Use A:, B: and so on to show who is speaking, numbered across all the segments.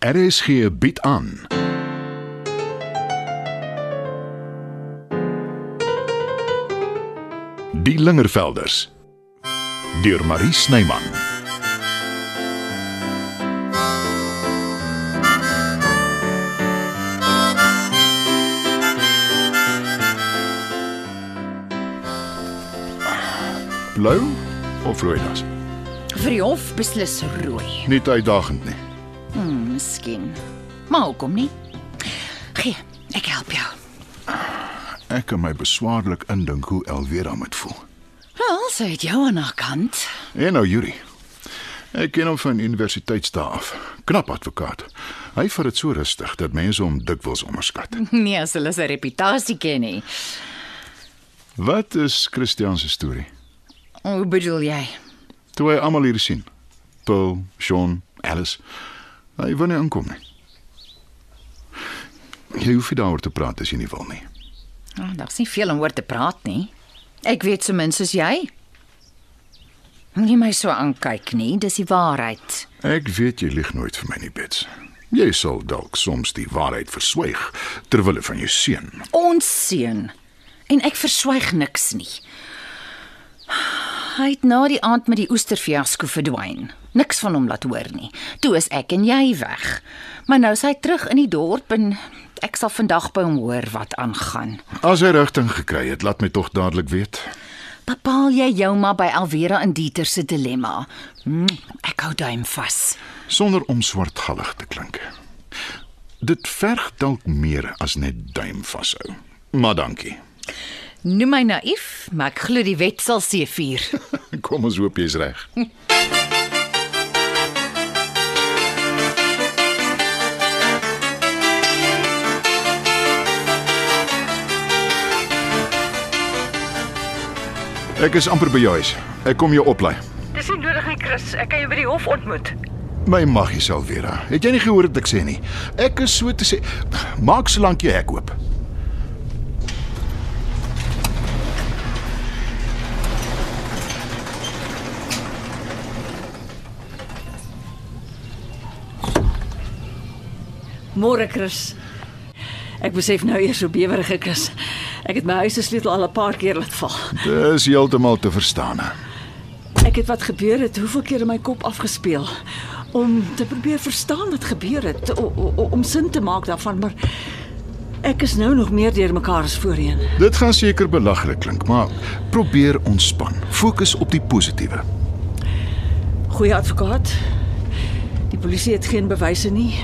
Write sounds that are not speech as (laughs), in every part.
A: RSG bied aan. Die Lingervelders deur Marie Snyman. Blou of rooi das?
B: Vir die hof beslis rooi,
A: Nie uitdagend nie.
B: miskien. Maar hoekom nie? Gee, ek help jou.
A: Ek kan my beswaarlik indink hoe Elwera moet voel.
B: Wel, sy het jou aan haar kant.
A: En nou Yuri. Ek ken hom van universiteitsdae af. Knap advokaat. Hy vat dit so rustig dat mense hom dikwels onderskat.
B: Nee, as hulle sy reputasie ken nie.
A: Wat is Christian se storie?
B: Hoe bedoel jy?
A: Toe hy almal hier sien. Paul, Sean, Alice. Hy wou nie inkom nie. Jy hoef nie daaroor te praat as jy nie wil nie.
B: Oh, Daar's nie veel om oor te praat nie. Ek weet so min soos jy. Moenie my so aankyk nie, dis die waarheid.
A: Ek weet jy lieg nooit vir my nie, Bets. Jy sal dalk soms die waarheid verswyg ter wille van jou seun.
B: Ons seun. En ek verswyg niks nie. Hy het na die aand met die oesterfiasko verdwyn. Niks van hom laat hoor nie. Toe is ek en jy weg. Maar nou is hy terug in die dorp en ek sal vandag by hom hoor wat aangaan.
A: As hy rigting gekry het, laat my tog dadelik weet.
B: Bepaal jy jou maar by Alvera en Dieter se dilemma. Mm, Ek hou duim vas.
A: sonder om swartgallig te klink. Dit verg dalk meer as net duim vashou. Maar dankie. (laughs)
B: Noem my naïef, maar ek glo die wet sal seëvier.
A: Kom ons hoop jy's reg. Ek is amper by jou huis. Ek kom jou oplaai.
C: Dis nie nodig nie, Chris. Ek kan jou by die hof ontmoet.
A: My maggie Salvera, het jy nie gehoor wat ek sê nie? Ek is so te sê, maak solank jy hek oop.
C: Môre, Chris. Ek besef nou eers hoe bewerig ek is. Ek het my huis se sleutel al 'n paar keer laat val.
A: Dis heeltemal te verstaan.
C: Ek het wat gebeur het, hoeveel keer in my kop afgespeel om te probeer verstaan wat gebeur het, o, o, o, om sin te maak daarvan, maar ek is nou nog meer deurmekaar as voorheen.
A: Dit gaan seker belaglik klink, maar probeer ontspan. Fokus op die positiewe.
C: Goeie advokaat. Die polisie het geen bewyse nie.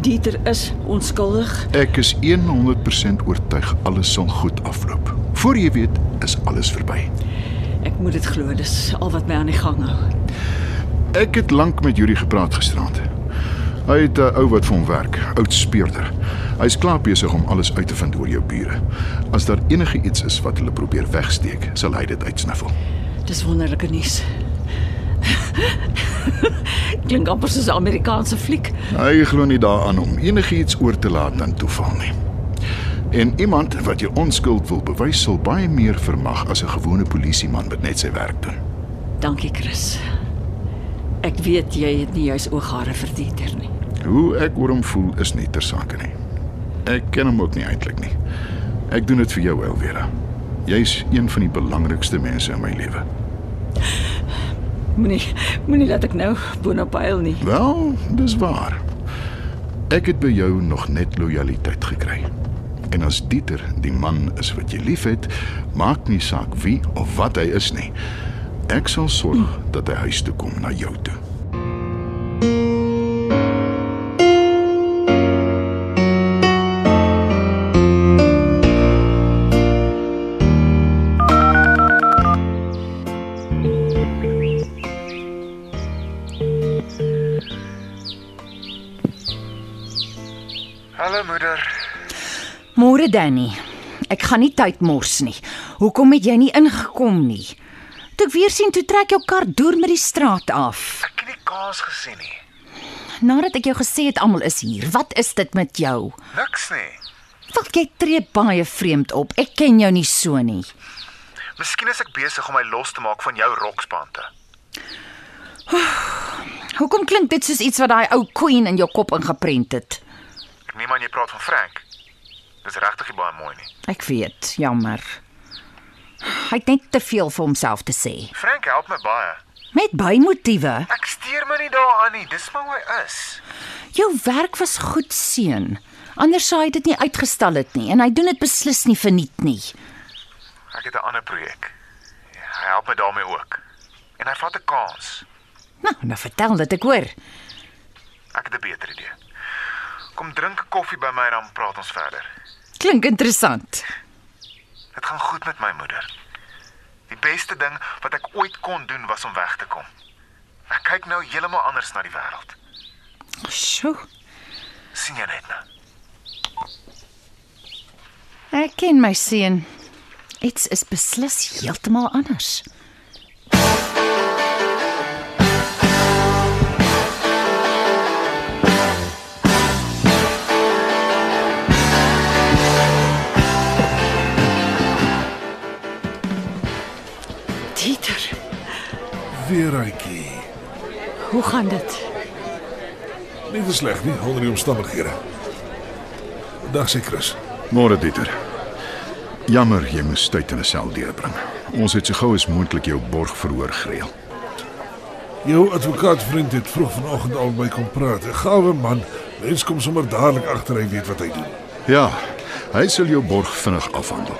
C: Dieter is onskuldig.
A: Ek is 100% oortuig alles sal goed afloop. Voor jy weet, is alles verby.
C: Ek moet dit glo, dis al wat my aan die gang hou.
A: Ek het lank met Yuri gepraat gisteraand. Hy het 'n ou wat vir hom werk, oud speurder. Hy's klaar besig om alles uit te vind oor jou bure. As daar enige iets is wat hulle probeer wegsteek, sal hy dit uitsniffel.
C: Dis wonderlike nuus. (laughs) Klink amper soos 'n Amerikaanse fliek.
A: Hy glo nie daaraan om enigiets oor te laat aan toeval nie. En iemand wat jou onskuld wil bewys sal baie meer vermag as 'n gewone polisieman wat net sy werk doen.
C: Dankie, Chris. Ek weet jy het nie juis ooghare vir Dieter nie.
A: Hoe ek oor hom voel is nie ter sake nie. Ek ken hom ook nie eintlik nie. Ek doen dit vir jou, Elwera. Jy's een van die belangrikste mense in my lewe.
C: Moenie moenie laat ek nou boonop huil nie.
A: Wel, dis waar. Ek het by jou nog net lojaliteit gekry. En as Dieter die man is wat jy liefhet, maak nie saak wie of wat hy is nie. Ek sal sorg dat hy huis toe kom na jou toe.
D: Hallo moeder.
B: Môre Danny. Ek gaan nie tyd mors nie. Hoekom het jy nie ingekom nie? Toe ek weer sien toe trek jou kar deur met die straat af.
D: Ek het nie kaas gesien nie.
B: Nadat ek jou gesê het almal is hier, wat is dit met jou?
D: Niks nie.
B: Wat jy tree baie vreemd op. Ek ken jou nie so nie.
D: Miskien is ek besig om my los te maak van jou rokspante.
B: Hoekom klink dit soos iets wat daai ou queen in jou kop ingeprent het?
D: Niemand jy praat van Frank. Dis regtig nie baie mooi nie.
B: Ek weet, jammer. Hy het net te veel vir homself te sê.
D: Frank help my baie.
B: Met bymotiewe.
D: Ek steur my nie daaraan nie. Dis maar hoe hy is.
B: Jou werk was goed seun. Anders sou hy dit nie uitgestel het nie en hy doen dit beslis nie verniet nie.
D: Ek het 'n ander projek. Ja, Hy help my daarmee ook. En hy vat 'n kans.
B: Nou, nou vertel dit ek hoor.
D: Ek het 'n beter idee. Kom drink 'n koffie by my en dan praat ons verder.
B: Klink interessant.
D: Dit gaan goed met my moeder. Die beste ding wat ek ooit kon doen was om weg te kom. Ek kyk nou heeltemal anders na die wêreld.
B: Sjoe.
D: sien jy net nou.
B: Ek ken my seun. Iets is beslis heeltemal anders.
C: Dieter,
E: Weeruitjie.
C: hoe gaan dit?
E: Nie te sleg nie onder die omstandighede. Dag sê Chris.
A: Môre Dieter. Jammer jy moes tyd in 'n sel deurbring. Ons het so gou as moontlik jou borg verhoor gereël.
E: Jou advokaatvriend het vroeg vanoggend al by kom praat. 'n Gawe man. Mens kom sommer dadelik agter hy weet wat hy doen.
A: Ja, hy sal jou borg vinnig afhandel.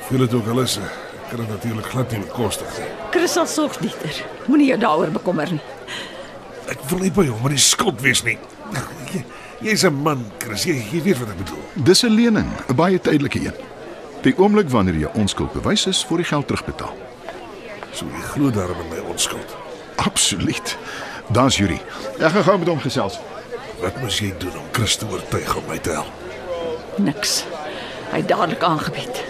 E: Voel dit ook alles. Ek kan dit natuurlik glad nie bekostig nie.
C: Chris sal sorg, Dieter. Moenie jou daaroor bekommer nie.
E: Ek wil nie by hom in die skuld wees nie. Jy- Jy's 'n man, Chris. Jy, jy weet wat ek bedoel.
A: Dis 'n lening, 'n baie tydelike een. Die oomblik wanneer jy onskuld bewys is, word die geld terugbetaal.
E: So jy glo daarom in my onskuld.
A: Absoluut. Dan's Yuri. Ek gaan gou met hom gesels.
E: Wat moes jy doen om Chris te oortuig om my te help?
C: Niks. Hy het dadelik aangebied.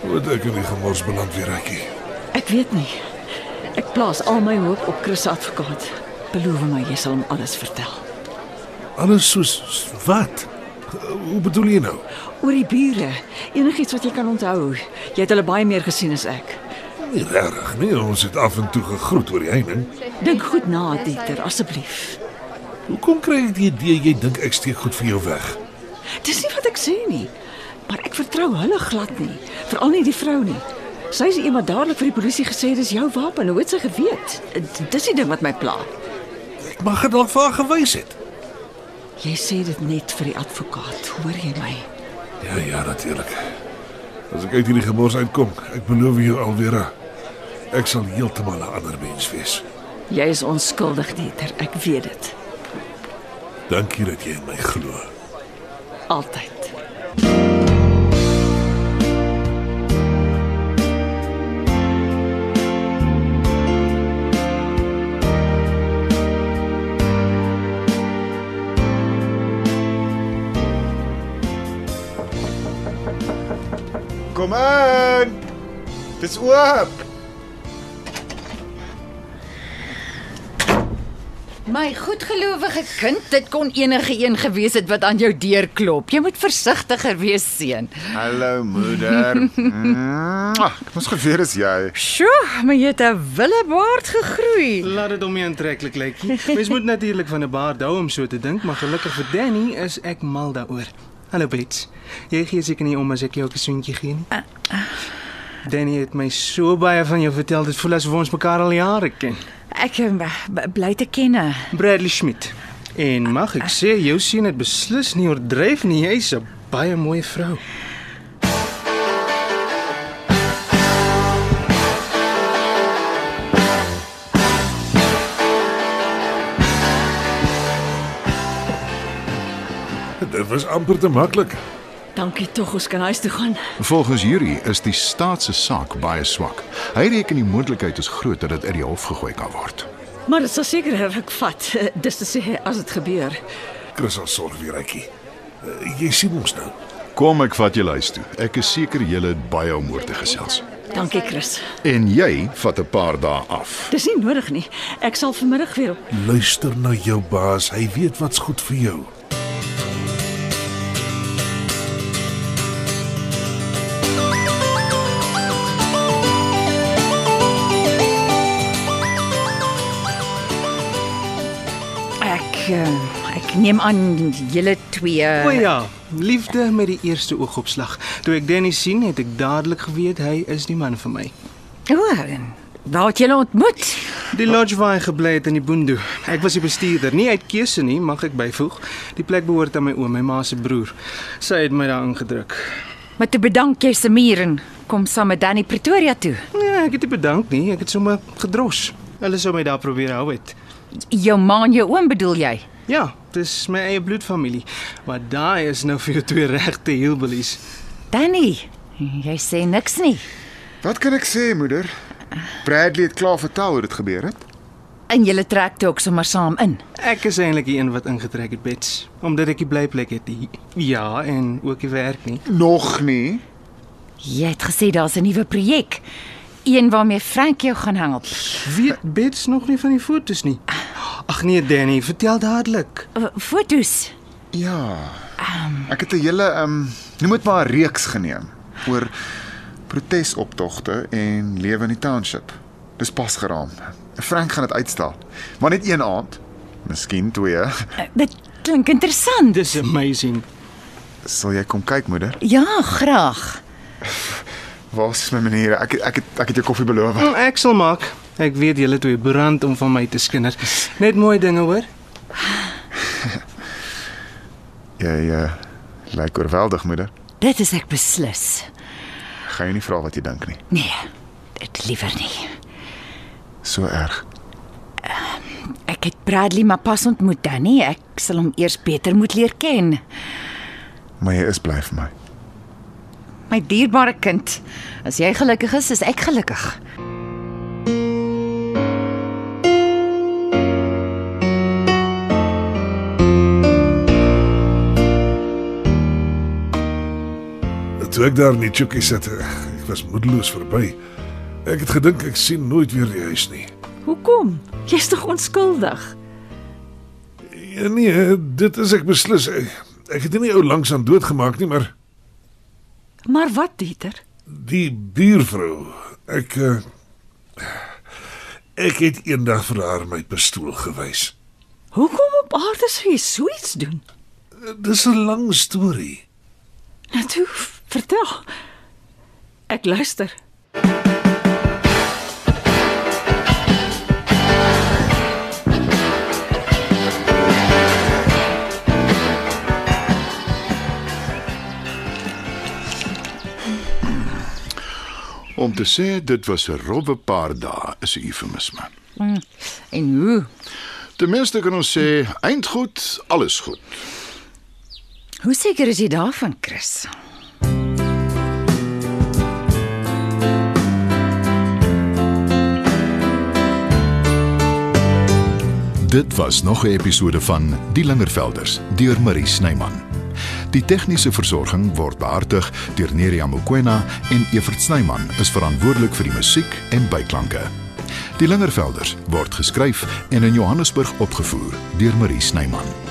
E: Hoe het ek in die gemors beland weer rakie?
C: Ek weet nie. Ek plaas al my hoop op Chris se advokaat. Beloof my jy sal hom alles vertel.
E: Alles soos soos wat? Hoe bedoel jy nou?
C: Oor die bure, enigiets wat jy kan onthou. Jy het hulle baie meer gesien as ek.
E: Nie regtig nie. Ons het af en toe gegroet oor die heining.
C: Dink goed na, Dieter, asseblief.
E: Hoekom kry ek die idee jy dink ek steek goed vir jou weg?
C: Dis nie wat ek sê nie. Maar ek vertrou hulle glad nie, veral nie die vrou nie. Sy is die een wat dadelik vir die polisie gesê het dis jou wapen. Hoe het sy geweet? D- Dis die ding wat my pla.
E: Ek mag dit dalk vir haar gewys het.
C: Jy sê dit net vir die advokaat, hoor jy my?
E: Ja ja, natuurlik. As ek uit hierdie gemors uitkom, ek beloof jou alweer ek sal heeltemal 'n ander mens wees.
C: Jy is onskuldig, Dieter. Ek weet dit.
E: Dankie dat jy in my glo.
C: Altyd.
F: Kom in. Dis oop.
B: My goedgelowige kind, dit kon enige een gewees het wat aan jou deur klop. Jy moet versigtiger wees, seun.
F: Hallo moeder. Ek moes geweet is jy.
B: Sjoe, maar jy het 'n willebaard gegroei.
G: Laat dit hom nie aantreklik lyk nie. Mens moet natuurlik van 'n baard hou om so te dink, maar gelukkig vir Danny is ek mal daaroor. Hallo Bets. Jy gee seker nie om as ek jou ook 'n soentjie gee nie. Danny het my so baie van jou vertel, dit voel asof ons mekaar al jare ken.
B: Ek eh, b- bly te kenne.
G: Bradley Schmidt. En mag ek sê jou seun het beslis nie oordryf nie. Jy's 'n baie mooi vrou.
E: Dit was amper te maklik.
C: Dankie tog ons kan huis toe gaan.
A: Volgens Yuri is die staat se saak baie swak. Hy reken die moontlikheid is groot dat dit uit die hof gegooi kan word.
C: Maar dit sal seker 'n ruk vat. (laughs) eh, Dis te sê as dit gebeur.
E: Chris sal sorg vir Rykie. Uh, jy sien ons nou.
A: Kom ek vat julle huis toe. Ek is seker julle het baie om oor te gesels.
C: Dankie, Chris.
A: En jy vat 'n paar dae af.
C: Dis nie nodig nie. Ek sal vanmiddag weer op.
E: Luister na jou baas. Hy weet wat's goed vir jou.
B: eh, ek neem aan julle twee.
G: O ja, liefde met die eerste oogopslag. Toe ek Danny sien, het ek dadelik geweet hy is die man vir my.
B: O, en waar het julle ontmoet?
G: Die lodge waar hy gebly het in die Boondoe. Ek was die bestuurder, nie uit keuse nie, mag ek byvoeg. Die plek behoort aan my oom, my ma se broer. Sy het my daar ingedruk.
B: Maar te bedank jy Samir en kom saam met Danny Pretoria toe.
G: Nee, ek het nie bedank nie, ek het sommer gedros. Hulle sou my daar probeer hou het.
B: Jou ma en jou oom bedoel jy?
G: Ja, dis my eie bloedfamilie. Maar daai is nou vir jou twee regte hillbillies.
B: Danny, jy sê niks nie.
F: Wat kan ek sê, moeder? Bradley het klaar vertel hoe dit gebeur het.
B: En julle trek toe ook sommer saam in.
G: Ek is eintlik die een wat ingetrek het, Bets, omdat ek die blyplek het. die- Ja, en ook die werk nie.
F: Nog nie.
B: Jy het gesê daar's 'n nuwe projek, een waarmee Frank jou gaan help.
G: Weet Bets nog nie van die fotos nie. Ag nee, Danny, vertel dadelik.
B: Uh, Fotos.
F: Ja. Ek het 'n hele ehm um, noem dit maar 'n reeks geneem oor protesoptogte en lewe in die township. Dis pas geraam. Frank gaan dit uitstel. Maar net een aand, miskien twee.
B: Uh, Dit klink interessant.
G: Dis amazing.
F: Sal jy kom kyk, moeder?
B: Ja, graag.
F: Waar is my maniere? Ek ek het, ek het jou koffie beloof.
G: Nou, Ek sal maak. Ek weet julle twee brand om van my te skinder. Net mooi dinge hoor.
F: Jy uh, lyk oorweldig, moeder.
B: Dit is ek beslis.
F: Gaan jy nie vra wat jy dink nie.
B: Nee, dit liewer nie.
F: So erg.
B: Ek het Bradley maar pas ontmoet Danny. Ek sal hom eers beter moet leer ken.
F: Maar jy is bly vir my.
B: My dierbare kind, as jy gelukkig is, is ek gelukkig.
E: Toe ek daar in die chokkie sit, eh, ek was moedeloos verby. Ek het gedink ek sien nooit weer die huis nie.
C: Hoekom? Jy's tog onskuldig.
E: Ja, nee, dit is ek beslis. Ek, ek het nie ou langs aan dood gemaak nie, maar
C: Maar wat, Dieter?
E: die buurvrou. Ek eh, ek het eendag vir haar my pistool gewys.
C: Hoekom op aarde sou jy so iets doen?
E: Dis 'n lang storie.
C: Natu, vertel. Ek luister.
A: Om te sê dit was 'n rowwe paar dae is 'n eufemisme.
B: En hoe?
A: Ten minste kan ons sê eindgoed, alles goed.
B: Hoe seker is jy daarvan, Chris?
A: Dit was nog 'n episode van Die Lingervelders deur Marie Snyman. Die tegniese versorging word behartig deur Neriya Mkwena en Evert Snyman is verantwoordelik vir die musiek en byklanke. Die Lingervelders word geskryf en in Johannesburg opgevoer deur Marie Snyman.